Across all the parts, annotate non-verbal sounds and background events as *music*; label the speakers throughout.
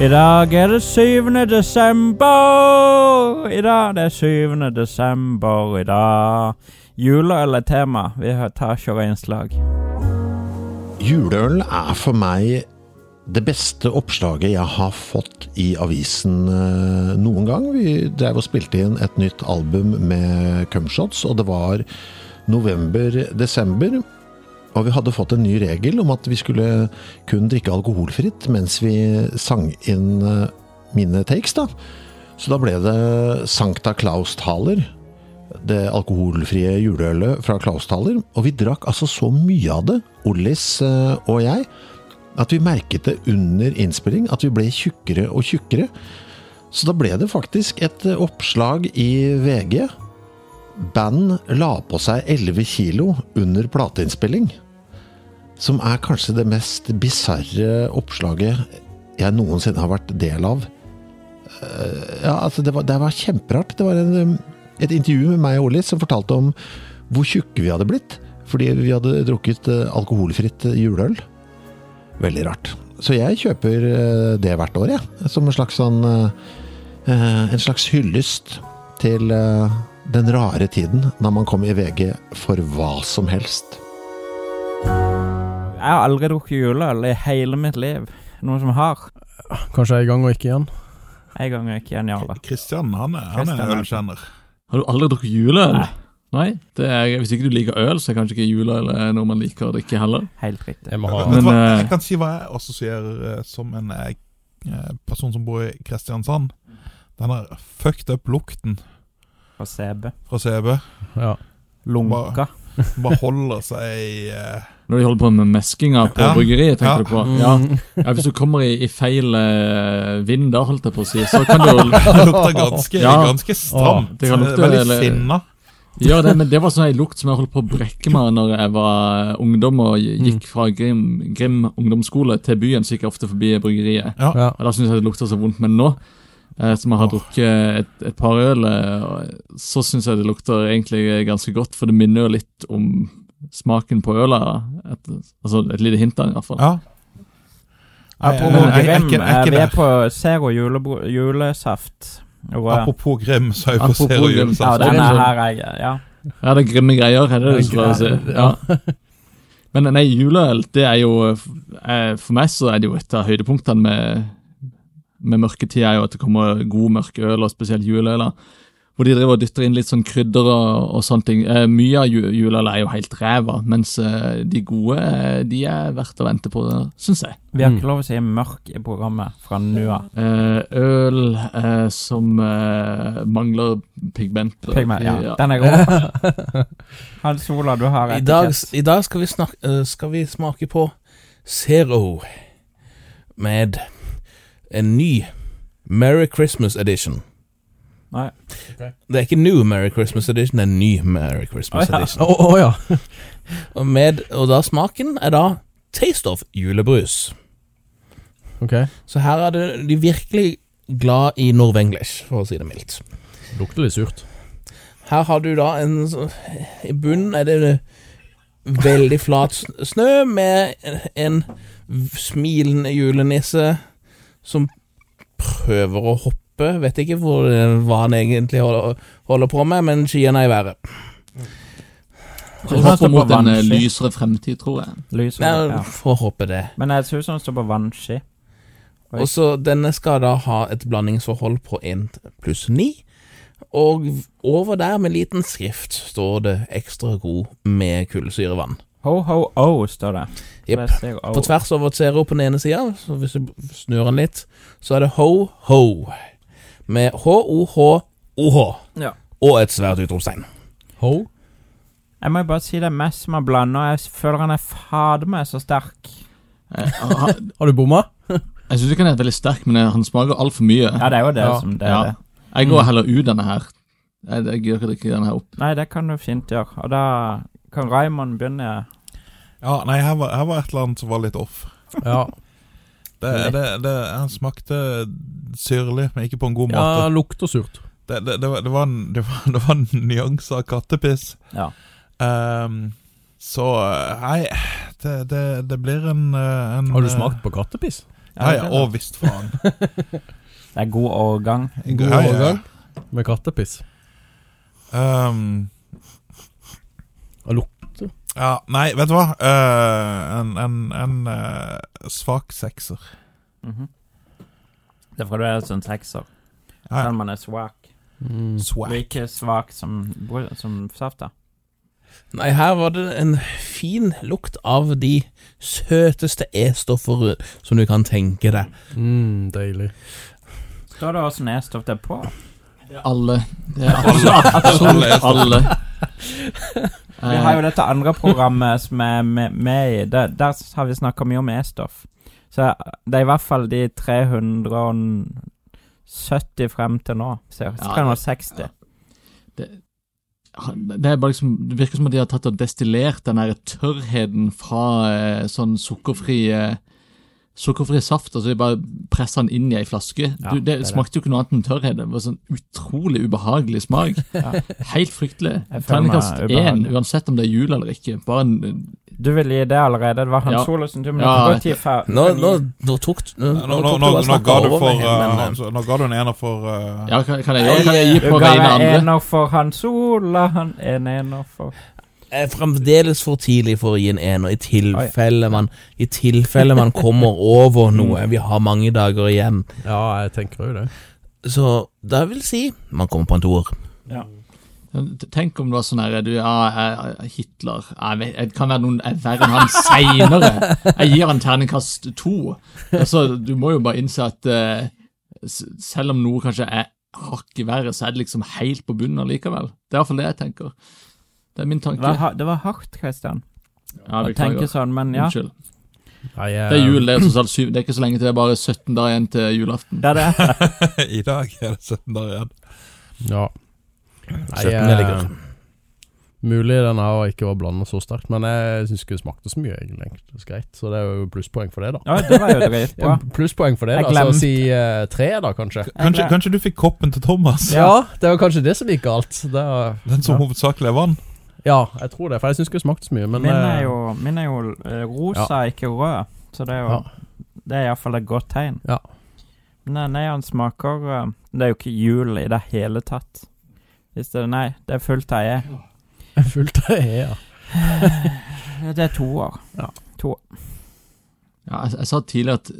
Speaker 1: I dag er det 7. desember. I dag det er 7. desember i dag. Juleøl er tema. Vi har- tar kjører innslag.
Speaker 2: Juleøl er for meg det beste oppslaget jeg har fått i avisen eh, noen gang. Vi drev og spilte inn et nytt album med Cumshots, og det var november-desember. Og vi hadde fått en ny regel om at vi skulle kun drikke alkoholfritt mens vi sang inn eh, mine takes, da. Så da ble det Sankta Claus-taler. Det alkoholfrie juleølet fra Claus-taler. Og vi drakk altså så mye av det, Ollis eh, og jeg, at vi merket det under innspilling at vi ble tjukkere og tjukkere. Så da ble det faktisk et eh, oppslag i VG. Band la på seg 11 kilo under plateinnspilling. Som er kanskje det mest bisarre oppslaget jeg noensinne har vært del av. Eh, Ja, altså det, var, det var kjemperart. Det var en, eh, et intervju med meg og Ollis som fortalte om hvor tjukke vi hadde blitt. Fordi vi hadde drukket eh, alkoholfritt eh, juleøl. Veldig rart. Så jeg kjøper eh, det hvert år, jeg. Som en slags sånn eh, eh, En slags hyllest til eh, den rare tiden da man kom i VG for hva som helst.
Speaker 1: Jeg har aldri drukket juleøl i hele mitt liv. Noen som har?
Speaker 3: Kanskje jeg er i gang og ikke igjen.
Speaker 1: En gang gikk jeg genial.
Speaker 4: Kristian, han er, han
Speaker 1: Christian
Speaker 4: er
Speaker 1: er-
Speaker 4: ølkjenner.
Speaker 5: Har du aldri drukket juleøl?
Speaker 1: Nei.
Speaker 5: Nei? Det er, hvis ikke du liker øl, så er kanskje ikke juleøl eh, noe man liker å drikke heller.
Speaker 1: Helt riktig.
Speaker 3: Jeg må
Speaker 4: Vet
Speaker 3: ha
Speaker 5: Men,
Speaker 4: du hva, jeg
Speaker 5: eh,
Speaker 4: kan si hva jeg assosierer eh, som en eh, person som bor i Kristiansand. Den der fucked up-lukten
Speaker 1: Og CB.
Speaker 4: fra CB
Speaker 3: ja.
Speaker 1: Lunka.
Speaker 4: bare holder seg i eh,
Speaker 5: Når de holder på med meskinga på
Speaker 4: Ja.
Speaker 5: bryggeriet,
Speaker 4: Ja.
Speaker 5: tenker du på?
Speaker 3: Mm.
Speaker 5: Ja. ja, Hvis du kommer i, i feil eh, vind da, holdt jeg på å si, så kan du *laughs*
Speaker 4: Det lukter ganske,
Speaker 5: Ja.
Speaker 4: ganske stramt.
Speaker 5: Det kan lukte
Speaker 4: Veldig
Speaker 5: eller-
Speaker 4: sinna.
Speaker 5: gjøre det. Men det var sånn en lukt som jeg holdt på å brekke meg når jeg var eh, ungdom og gikk fra Grim, Grim ungdomsskole til byen, så gikk jeg ofte forbi bryggeriet.
Speaker 3: ja.
Speaker 5: Og da synes jeg det lukter så vondt, men nå eh, som jeg har drukket et, et par øl, eh, og så synes jeg det lukter egentlig ganske godt, for det minner jo litt om smaken på ølet. da. Et, altså et lite hint der, i hvert fall.
Speaker 4: Ja. Nei,
Speaker 1: Apropos
Speaker 4: jeg- jeg- jeg er
Speaker 1: Grim,
Speaker 4: ikke- jeg er
Speaker 1: eh,
Speaker 4: ikke
Speaker 1: vi er
Speaker 4: der.
Speaker 1: på Zero julebro- julesaft. Og, eh,
Speaker 4: Apropos Grim, så er vi på
Speaker 5: Apropos
Speaker 4: Zero
Speaker 5: Grim.
Speaker 1: ja,
Speaker 4: Julesaft.
Speaker 1: denne
Speaker 5: Apropos-
Speaker 1: her er jeg, ja.
Speaker 5: Ja, det er grimme greier, er det det du
Speaker 3: Det er
Speaker 5: prøver å si? Ja. Men nei, juleøl, det er jo eh, For meg så er det jo et av høydepunktene med, med mørketida, er jo at det kommer god mørk øl, og spesielt juleøl. da. Hvor de driver og dytter inn litt sånn krydder og, og sånne ting. Eh, mye av ju- juleøl er jo helt ræva, mens eh, de gode, eh, de er verdt å vente på, syns jeg.
Speaker 1: Vi har
Speaker 3: Mm.
Speaker 1: ikke lov å si mørk i programmet fra nå av.
Speaker 5: Eh, øl eh, som eh, mangler pigment. eh,
Speaker 1: Pigment, ja.
Speaker 5: Ja.
Speaker 1: Den er
Speaker 3: *laughs*
Speaker 1: god. Hans Sola, du har
Speaker 6: I dag,
Speaker 1: etikett.
Speaker 6: I dag skal, vi snak- eh, skal vi smake på Zero med en ny Merry Christmas Edition.
Speaker 1: Nei.
Speaker 6: Det er ikke New Merry Christmas Edition, det er en ny Merry Christmas
Speaker 1: Å, ja.
Speaker 6: Edition.
Speaker 3: Å, å, ja.
Speaker 6: Og, med, og da smaken er da Taste of julebrus.
Speaker 3: Ok.
Speaker 6: Så her er det de virkelig glad i Norwenglish, for å si det mildt.
Speaker 3: Lukter litt surt.
Speaker 6: Her har du da en så- I bunnen er det veldig flat s- snø med en smilende julenisse som prøver å hoppe. Vet ikke hvor, hva han egentlig holder, holder på med, men skiene er i været.
Speaker 1: Jeg synes det
Speaker 5: Håper mot
Speaker 1: var
Speaker 5: en eh,
Speaker 1: vanskelig.
Speaker 5: lysere fremtid, tror jeg.
Speaker 1: Lys og
Speaker 6: Ja,
Speaker 1: ja.
Speaker 6: Får håpe det.
Speaker 1: Men jeg synes han står på vannski. Oi.
Speaker 6: Og så Denne skal da ha et blandingsforhold på 1 pluss 9. Og over der med liten skrift står det 'ekstra god med kullsyrevann'.
Speaker 1: Ho, ho, o, står det. Så
Speaker 6: Jepp.
Speaker 1: det er steg O.
Speaker 6: På tvers over et zero på den ene sida, så hvis du snur den litt, så er det ho-ho. Med h-o-h-o-h.
Speaker 1: Ja.
Speaker 6: Og et svært utropstegn.
Speaker 3: Ho?
Speaker 1: Jeg må jo bare si det er mest som har blanda, og jeg føler han er fader meg så sterk.
Speaker 5: Eh, ha-
Speaker 3: Har du bomma?
Speaker 5: Jeg syns ikke han er veldig sterk, men eh, han smaker altfor mye.
Speaker 1: Ja, det er jo det
Speaker 3: Ja.
Speaker 1: som det er
Speaker 5: Ja.
Speaker 1: det. Mm.
Speaker 5: Jeg går heller ut denne her. Jeg, jeg gir ikke drikke denne her opp.
Speaker 1: Nei, det kan du fint gjøre. Og da kan Raymond begynne.
Speaker 4: Ja, nei, her var, her var et eller annet som var litt off.
Speaker 3: Ja.
Speaker 4: Det, det, det, han smakte syrlig, men ikke på en god
Speaker 3: ja.
Speaker 4: måte.
Speaker 3: Lukter surt.
Speaker 4: Det, det, det, var, det, var, en- det, var, *laughs* det var en nyanse av kattepiss.
Speaker 1: Ja.
Speaker 4: Ehm, så eh, Nei, det, det, det blir en, eh, en
Speaker 3: Har du
Speaker 4: eh,
Speaker 3: smakt på kattepiss?
Speaker 4: Ja,
Speaker 1: det
Speaker 4: ja,
Speaker 1: er det.
Speaker 4: og visst faen.
Speaker 1: Det er god årgang.
Speaker 3: *laughs* God
Speaker 4: Ja, ja.
Speaker 3: overgang. Med kattepiss.
Speaker 4: Ehm,
Speaker 3: Og luk-
Speaker 4: ja, nei, vet du hva? Eh, en en, en eh, svak sekser.
Speaker 1: Mhm. Det er fordi du er sånn sekser.
Speaker 4: Ja,
Speaker 1: Selv
Speaker 4: ja.
Speaker 1: om man er svak.
Speaker 3: Mm.
Speaker 1: Du er ikke svak som, bro- som safta.
Speaker 6: Nei, her var det en fin lukt av de søteste E-stoffer som du kan tenke deg.
Speaker 3: Mm, deilig.
Speaker 1: Står det åssen E-stoff det er på?
Speaker 5: *laughs* Alle. Det er absolutt, absolutt alle.
Speaker 1: *laughs* Vi har jo dette andre programmet som er med, med i. Der, der har vi snakka mye om E-stoff. Så det er i hvert fall de 370 frem til nå. Ser ut
Speaker 5: Ja.
Speaker 1: som 360.
Speaker 5: Ja. Eh, Det er bare liksom, det virker som at de har tatt og destillert den der tørrheten fra eh, sånn sukkerfri eh, Sukkerfri saft. altså De bare presser den inn i ei flaske.
Speaker 1: Ja,
Speaker 5: du, det,
Speaker 1: det er det.
Speaker 5: smakte jo ikke noe annet enn tørrhet. Det var sånn utrolig ubehagelig smak.
Speaker 1: *laughs* Ja.
Speaker 5: Helt fryktelig.
Speaker 1: Jeg føler meg
Speaker 5: Terningkast én,
Speaker 1: ubehagelig.
Speaker 5: uansett om det er jul eller ikke. Bare en,
Speaker 1: Du ville gi det allerede? Det var Hans
Speaker 5: Ja.
Speaker 1: Olav som du
Speaker 5: Ja.
Speaker 1: måtte ja. gå
Speaker 6: Nå, nå, nå tok nå,
Speaker 4: Nå, nå, nå,
Speaker 6: tok
Speaker 4: nå,
Speaker 6: bare snakket
Speaker 4: ga du
Speaker 6: over
Speaker 4: for
Speaker 6: meg, men,
Speaker 4: eh, nå- Nå ga du en ener for eh, *laughs*
Speaker 5: ja, kan, kan, jeg, gjøre- kan jeg gi
Speaker 1: Du
Speaker 5: på
Speaker 1: ga
Speaker 5: vegne av
Speaker 1: en
Speaker 5: andre?
Speaker 1: ener for Hans Olav, han- en ener for
Speaker 6: er fremdeles for tidlig for å gi en ener, i tilfelle man I tilfelle man *laughs* kommer over noe. Vi har mange dager igjen.
Speaker 3: Ja, jeg tenker òg det.
Speaker 6: Så det vil si man kommer på en toer.
Speaker 4: *laughs*
Speaker 5: Tenk om det var sånn her du, ja, jeg- jeg- Hitler jeg vet, jeg kan være noen jeg er verre enn han seinere. Jeg gir han terningkast to. Altså, du må jo bare innse at eh, s- selv om noe kanskje er hakket verre, så er det liksom helt på bunnen allikevel. Det er iallfall det jeg tenker. Det er min
Speaker 1: Det var,
Speaker 5: tanke.
Speaker 1: ha- det var hardt, Christian,
Speaker 5: Ja,
Speaker 1: å tenke
Speaker 5: beklager.
Speaker 1: sånn, men ja.
Speaker 5: Unnskyld.
Speaker 3: Nei, jeg,
Speaker 5: Det er jul, det er tross alt syv. Det er ikke så lenge til det er bare 17 dager igjen til julaften.
Speaker 1: Det er det.
Speaker 4: I dag er det 17 dager igjen.
Speaker 3: Ja. Nei, eh,
Speaker 6: Søtten
Speaker 3: jeg-
Speaker 6: ligger.
Speaker 3: Mulig den her ikke var blanda så sterkt, men jeg syns ikke det smakte så mye. egentlig Det er greit, Så det er jo plusspoeng for det, da.
Speaker 1: Ja, det var jo
Speaker 5: *laughs*
Speaker 1: dritbra.
Speaker 3: Plusspoeng for det,
Speaker 1: Jeg
Speaker 3: da. Så å
Speaker 1: glemte.
Speaker 3: si eh, tre, da, kanskje.
Speaker 4: Kanskje, kanskje du fikk koppen til Thomas?
Speaker 1: Ja.
Speaker 3: det var kanskje det som gikk galt. Det er-
Speaker 4: Den som hovedsakelig er vann?
Speaker 3: ja, jeg tror det, for jeg syns ikke det smakte så mye. Men
Speaker 1: Min er
Speaker 3: eh,
Speaker 1: jo, min er jo eh, rosa, ikke rød, så det er jo
Speaker 3: Ja.
Speaker 1: Det er iallfall et godt tegn.
Speaker 3: Ja.
Speaker 1: Nei, nei, han smaker eh, Det er jo ikke jul i det hele tatt. Hvis det Nei, det er fullt av
Speaker 3: *laughs*
Speaker 1: E.
Speaker 3: fullt av E, ja.
Speaker 1: Det er toer.
Speaker 5: Ja, jeg, jeg sa tidligere at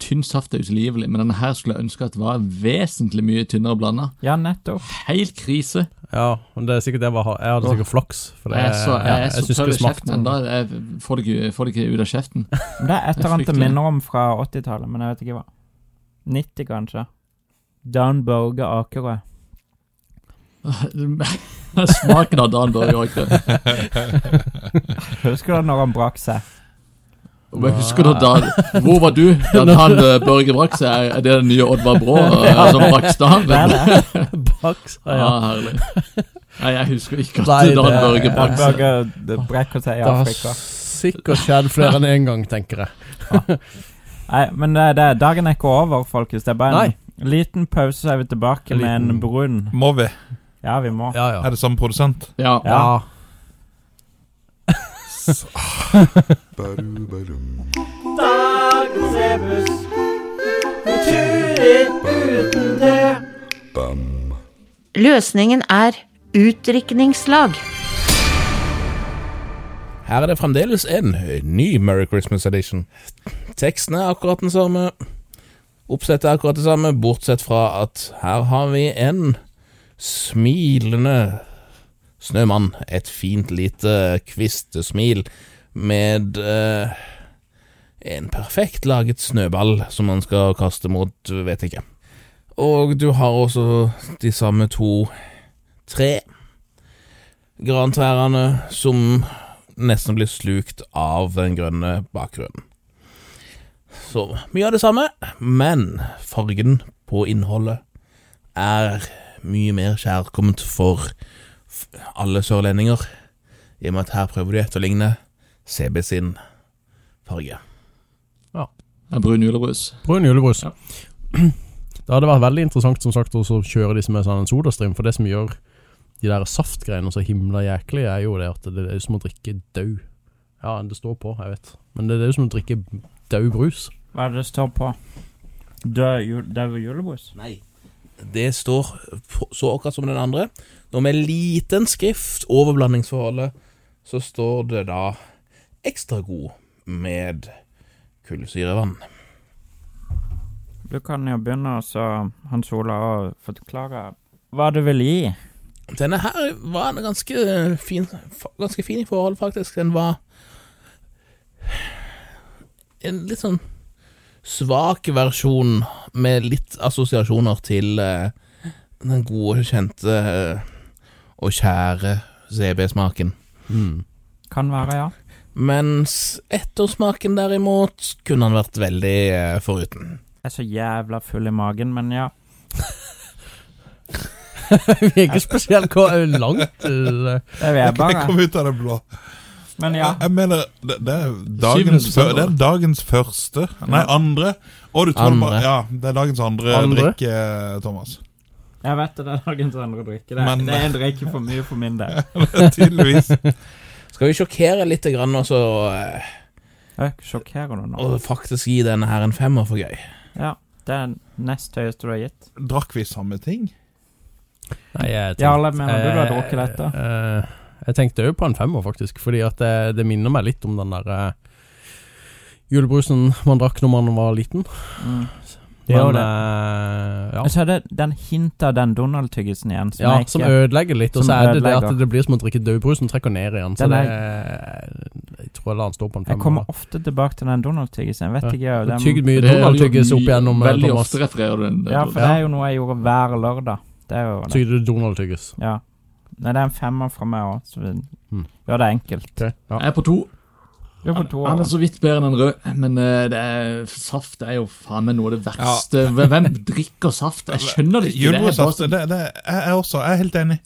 Speaker 5: tynn saft er utilgivelig, men denne her skulle jeg ønske at var vesentlig mye tynnere blanda.
Speaker 1: Ja, nettopp.
Speaker 5: Helt krise.
Speaker 3: Ja, men det er sikkert det jeg, var, jeg hadde sikkert flaks. For det,
Speaker 5: jeg er så, jeg,
Speaker 3: ja,
Speaker 5: er så
Speaker 3: syns ikke
Speaker 5: tørr i
Speaker 3: det smakte
Speaker 5: kjeften ennå. Jeg får det, ikke, får det ikke ut av kjeften. *laughs*
Speaker 1: Men Det er et eller annet
Speaker 5: Fryktelig.
Speaker 1: jeg minner om fra 80-tallet, men jeg vet ikke hva. 90, kanskje. Dan Børge Akerø.
Speaker 5: Smaken av Dan Børge Akerø.
Speaker 1: Husker du når han brakk seg?
Speaker 5: Om jeg Husker du da Hvor var du da han eh, Børge brakk seg? Er- Er det den nye Oddvar
Speaker 3: *laughs*
Speaker 5: Brå eh, som brakk
Speaker 1: Det er
Speaker 5: staven?
Speaker 1: det.
Speaker 3: Bak, sa
Speaker 5: Ja,
Speaker 3: jeg.
Speaker 5: herlig. Nei, jeg husker ikke
Speaker 3: Nei,
Speaker 5: at
Speaker 3: det-
Speaker 5: Dan Børge
Speaker 1: Dan
Speaker 5: brakk seg.
Speaker 1: Børge det brekker seg i
Speaker 3: Det har
Speaker 1: Afrika.
Speaker 3: sikkert skjedd flere enn én gang, tenker jeg.
Speaker 1: Nei, men eh, det, det, dagen er ikke over, folkens. Det er bare en
Speaker 3: Nei.
Speaker 1: liten pause, så er vi tilbake med
Speaker 3: Liten-
Speaker 1: en brun.
Speaker 4: Må vi?
Speaker 1: Ja, vi må.
Speaker 3: Ja, ja.
Speaker 4: Er det samme produsent?
Speaker 5: Ja.
Speaker 1: Ja. Dagens e-buss. uten det.
Speaker 7: Løsningen er utdrikningslag.
Speaker 6: Her er det fremdeles en ny Merry Christmas Edition. Teksten er akkurat den samme. Oppsettet er akkurat det samme, bortsett fra at her har vi en smilende snømann. Et fint lite kvistesmil med eh, en perfekt laget snøball som man skal kaste mot, vet ikke. Og du har også de samme to tre grantrærne som nesten blir slukt av den grønne bakgrunnen. Så mye av det samme, men fargen på innholdet er mye mer kjærkomment for f- alle sørlendinger, i og med at her prøver de å etterligne CB sin farge.
Speaker 5: Ja, Brun julebrus.
Speaker 3: Brun julebrus.
Speaker 5: Ja.
Speaker 3: *clears throat* Det hadde vært veldig interessant som sagt, også å kjøre de som er sånn en sodastream, for det som gjør de der saftgreiene så himla jæklig, er jo det at det er jo som å drikke død. Ja, det står på, jeg vet. Men det er jo som å drikke død brus.
Speaker 1: Hva er det det står på? Død jul, død julebrus?
Speaker 6: Nei. Det står på- så akkurat som den andre. Når med liten skrift over blandingsforholdet, så står det da ekstra god med kullsyrevann.
Speaker 1: Du kan jo begynne, så Hans Ola, å forklare hva du vil gi.
Speaker 6: Denne her var en ganske fin, fa- ganske fin i forhold, faktisk. Den var en litt sånn svak versjon med litt assosiasjoner til eh, den gode, kjente eh, og kjære CB-smaken.
Speaker 3: Mm. *laughs*
Speaker 1: Kan være, ja.
Speaker 6: Mens ettersmaken derimot kunne han vært veldig eh, foruten.
Speaker 1: Jeg er så jævla full i magen, men ja.
Speaker 3: Vi er ikke spesielt hva er langt eh,
Speaker 1: Det
Speaker 3: *laughs*
Speaker 1: vil jeg
Speaker 4: Jeg
Speaker 1: bare.
Speaker 4: kom ut av det blå.
Speaker 1: Men ja.
Speaker 4: Jeg mener, det, det, er dagens,
Speaker 5: Syvende
Speaker 4: før,
Speaker 5: desember.
Speaker 4: det er dagens første Nei, andre. Å, du tror det bare
Speaker 6: Andre.
Speaker 4: Ja, det er dagens andre,
Speaker 3: Andre.
Speaker 4: drikke, eh, Thomas. *laughs*
Speaker 1: Jeg vet det er dagens andre drikke. Det,
Speaker 4: Men-
Speaker 1: det er en drikke for mye for min
Speaker 3: *laughs*
Speaker 1: del.
Speaker 4: Tydeligvis.
Speaker 6: Skal vi sjokkere litt grann og, så, eh,
Speaker 1: Jeg sjokkerer du nå?
Speaker 6: og faktisk gi denne her en femmer for gøy?
Speaker 1: Ja. Det er nest høyeste du har gitt.
Speaker 4: Drakk vi samme ting?
Speaker 3: Nei, jeg tenkte-
Speaker 1: Jarle, mener du du har drukket dette?
Speaker 3: Eh, eh, jeg tenkte òg på en femmer, faktisk. Fordi at det, det minner meg litt om den der eh, julebrusen man drakk når man var liten.
Speaker 1: Mm.
Speaker 3: Men,
Speaker 1: gjør det.
Speaker 3: eh, ja.
Speaker 1: Og så er det den hint av den Donald-tyggisen igjen. Som
Speaker 3: ja,
Speaker 1: jeg
Speaker 3: som
Speaker 1: ikke,
Speaker 3: ødelegger litt. Og
Speaker 1: Som
Speaker 3: så er det det at
Speaker 1: ødelegger.
Speaker 3: det blir som å drikke dødbrus, den trekker ned igjen. Så
Speaker 1: Den
Speaker 3: det, eh,
Speaker 1: er-
Speaker 3: jeg tror jeg lar den stå på en
Speaker 1: jeg
Speaker 3: femmer.
Speaker 1: kommer ofte tilbake til den Donald-tyggisen. Jeg vet ikke.
Speaker 3: Du har
Speaker 1: Den,
Speaker 3: tygd mye
Speaker 5: Det er jo
Speaker 3: Donald-tyggis opp
Speaker 5: mye-
Speaker 3: igjennom eh,
Speaker 5: Veldig
Speaker 3: Thomas.
Speaker 5: ofte refererer du den.
Speaker 1: ja, for det er jo noe jeg gjorde hver lørdag. Det er jo det.
Speaker 3: Tygde du Donald-tyggis.
Speaker 1: Ja. Nei, det er en femmer fra meg òg, så vi
Speaker 3: Mm.
Speaker 1: gjør det enkelt.
Speaker 3: Ja.
Speaker 5: Jeg er på to.
Speaker 1: Du får
Speaker 5: Han,
Speaker 1: to
Speaker 5: han er
Speaker 1: år.
Speaker 5: så vidt bedre enn den røde, men eh, det er, saft er jo faen meg noe av det verste. Hvem drikker saft? Jeg skjønner det ikke. Det er
Speaker 4: Julebrussaft.
Speaker 5: bare- sånn-
Speaker 4: Det, det, jeg er også jeg er helt enig.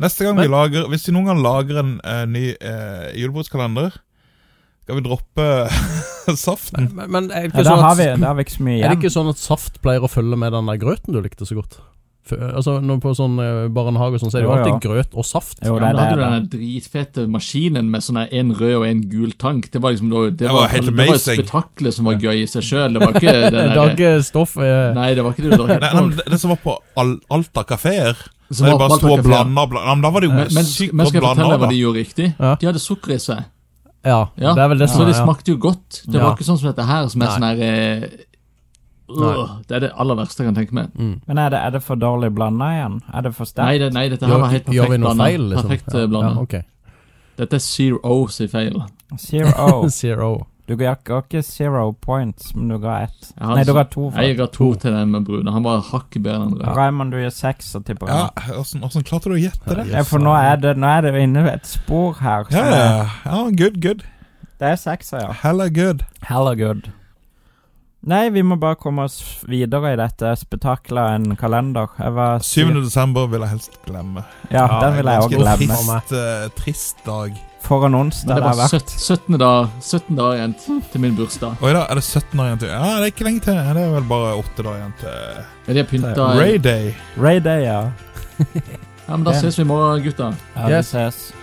Speaker 4: Neste gang vi lager Hvis vi noen gang lager en eh, ny uh, julebruskalender, skal vi droppe *laughs* saften?
Speaker 3: Men, men er, det
Speaker 1: Ja,
Speaker 3: ikke
Speaker 1: da
Speaker 3: sånn
Speaker 1: har
Speaker 3: at,
Speaker 1: vi, da har vi ikke så mye
Speaker 3: er det
Speaker 1: igjen.
Speaker 3: ikke sånn at saft pleier å følge med den der grøten du likte så godt? For, altså, når På sånn eh, barnehage og sånn, så er det
Speaker 1: Jo,
Speaker 3: jo
Speaker 1: ja.
Speaker 3: alltid grøt og saft.
Speaker 1: Jo,
Speaker 5: Ja,
Speaker 1: det
Speaker 5: men da
Speaker 1: er
Speaker 5: hadde du
Speaker 1: det.
Speaker 5: den dritfete maskinen med sånn en rød og en gul tank. Det var liksom da- det,
Speaker 4: Det
Speaker 5: var,
Speaker 4: var helt
Speaker 5: det var et
Speaker 4: amazing.
Speaker 5: spetakkel som var gøy i seg sjøl. Det var
Speaker 1: *laughs*
Speaker 3: *laughs*
Speaker 5: ikke det
Speaker 3: Det er
Speaker 5: der,
Speaker 3: ikke stoff eh,
Speaker 5: Nei, det var ikke det
Speaker 4: Nei,
Speaker 5: du
Speaker 4: nei, men
Speaker 5: drakk.
Speaker 4: det, det som var på Al Alta kafeer
Speaker 5: Som
Speaker 4: Da de
Speaker 5: var
Speaker 4: bare
Speaker 5: Malta
Speaker 4: sto og
Speaker 5: kafé.
Speaker 4: blanda og blanda. Men da var det jo
Speaker 5: Men, men
Speaker 4: sykt
Speaker 5: men skal jeg
Speaker 4: godt blanda.
Speaker 5: fortelle deg hva
Speaker 4: da.
Speaker 5: de gjorde riktig?
Speaker 3: Ja.
Speaker 5: De hadde sukker i seg.
Speaker 3: ja,
Speaker 5: Ja.
Speaker 3: det er vel det
Speaker 5: Så
Speaker 3: som
Speaker 5: det
Speaker 3: er ja.
Speaker 5: smakte jo godt. Det var
Speaker 3: Ja.
Speaker 5: ikke sånn som dette her, som er
Speaker 3: Nei.
Speaker 5: sånn her eh, øh, Det er det aller verste jeg kan tenke meg.
Speaker 1: Men er det, er det for dårlig blanda igjen? Er det for
Speaker 5: Nei,
Speaker 1: sterkt?
Speaker 5: det, nei dette her
Speaker 3: Gjør,
Speaker 5: var helt
Speaker 3: gjør vi
Speaker 5: perfekt
Speaker 3: noe
Speaker 5: blanda.
Speaker 3: feil, liksom?
Speaker 5: Perfekt eh, blanda.
Speaker 3: Ja, ok. *laughs*
Speaker 5: Dette er zero sin feil. *laughs*
Speaker 1: Zero.
Speaker 3: Zero.
Speaker 1: Du ga ga ikke zero points, men du ga ett.
Speaker 5: Ja,
Speaker 1: Nei, du
Speaker 5: altså,
Speaker 1: ga to.
Speaker 5: Jeg
Speaker 1: For.
Speaker 5: ga to til den med brune. Han var hakket bedre enn den røde.
Speaker 1: Raymond, du gir seks, og tipper
Speaker 4: Ja,
Speaker 1: ja.
Speaker 4: åssen åssen klarte du å gjette det?
Speaker 1: Ja, for nå er det, nå er det jo inne ved et spor her.
Speaker 4: Ja,
Speaker 1: som
Speaker 4: ja,
Speaker 1: er-
Speaker 4: ja, good, good.
Speaker 1: Det er sekser, ja.
Speaker 4: Hella good.
Speaker 1: Heller good. Nei, vi må bare komme oss videre i dette spetakkelet av en kalender. Jeg var
Speaker 4: 7. desember vil jeg helst glemme.
Speaker 1: Ja, den vil jeg òg
Speaker 4: Ganske
Speaker 1: glemme.
Speaker 4: Trist, eh, trist dag.
Speaker 1: For en onsdag
Speaker 5: Men det
Speaker 1: det har
Speaker 5: var
Speaker 1: vært.
Speaker 5: 17, 17 dager 17 dager igjen t- til min bursdag.
Speaker 4: Og i dag er det 17 år igjen til Ja, det er ikke lenge til. Det er vel bare 8 dager igjen til
Speaker 5: Men de har pynta
Speaker 4: Ray Day.
Speaker 1: Ray Day, ja.
Speaker 5: Ja, men Da ses vi i morgen, gutta.
Speaker 1: ja
Speaker 3: Yes.
Speaker 1: Vi ses.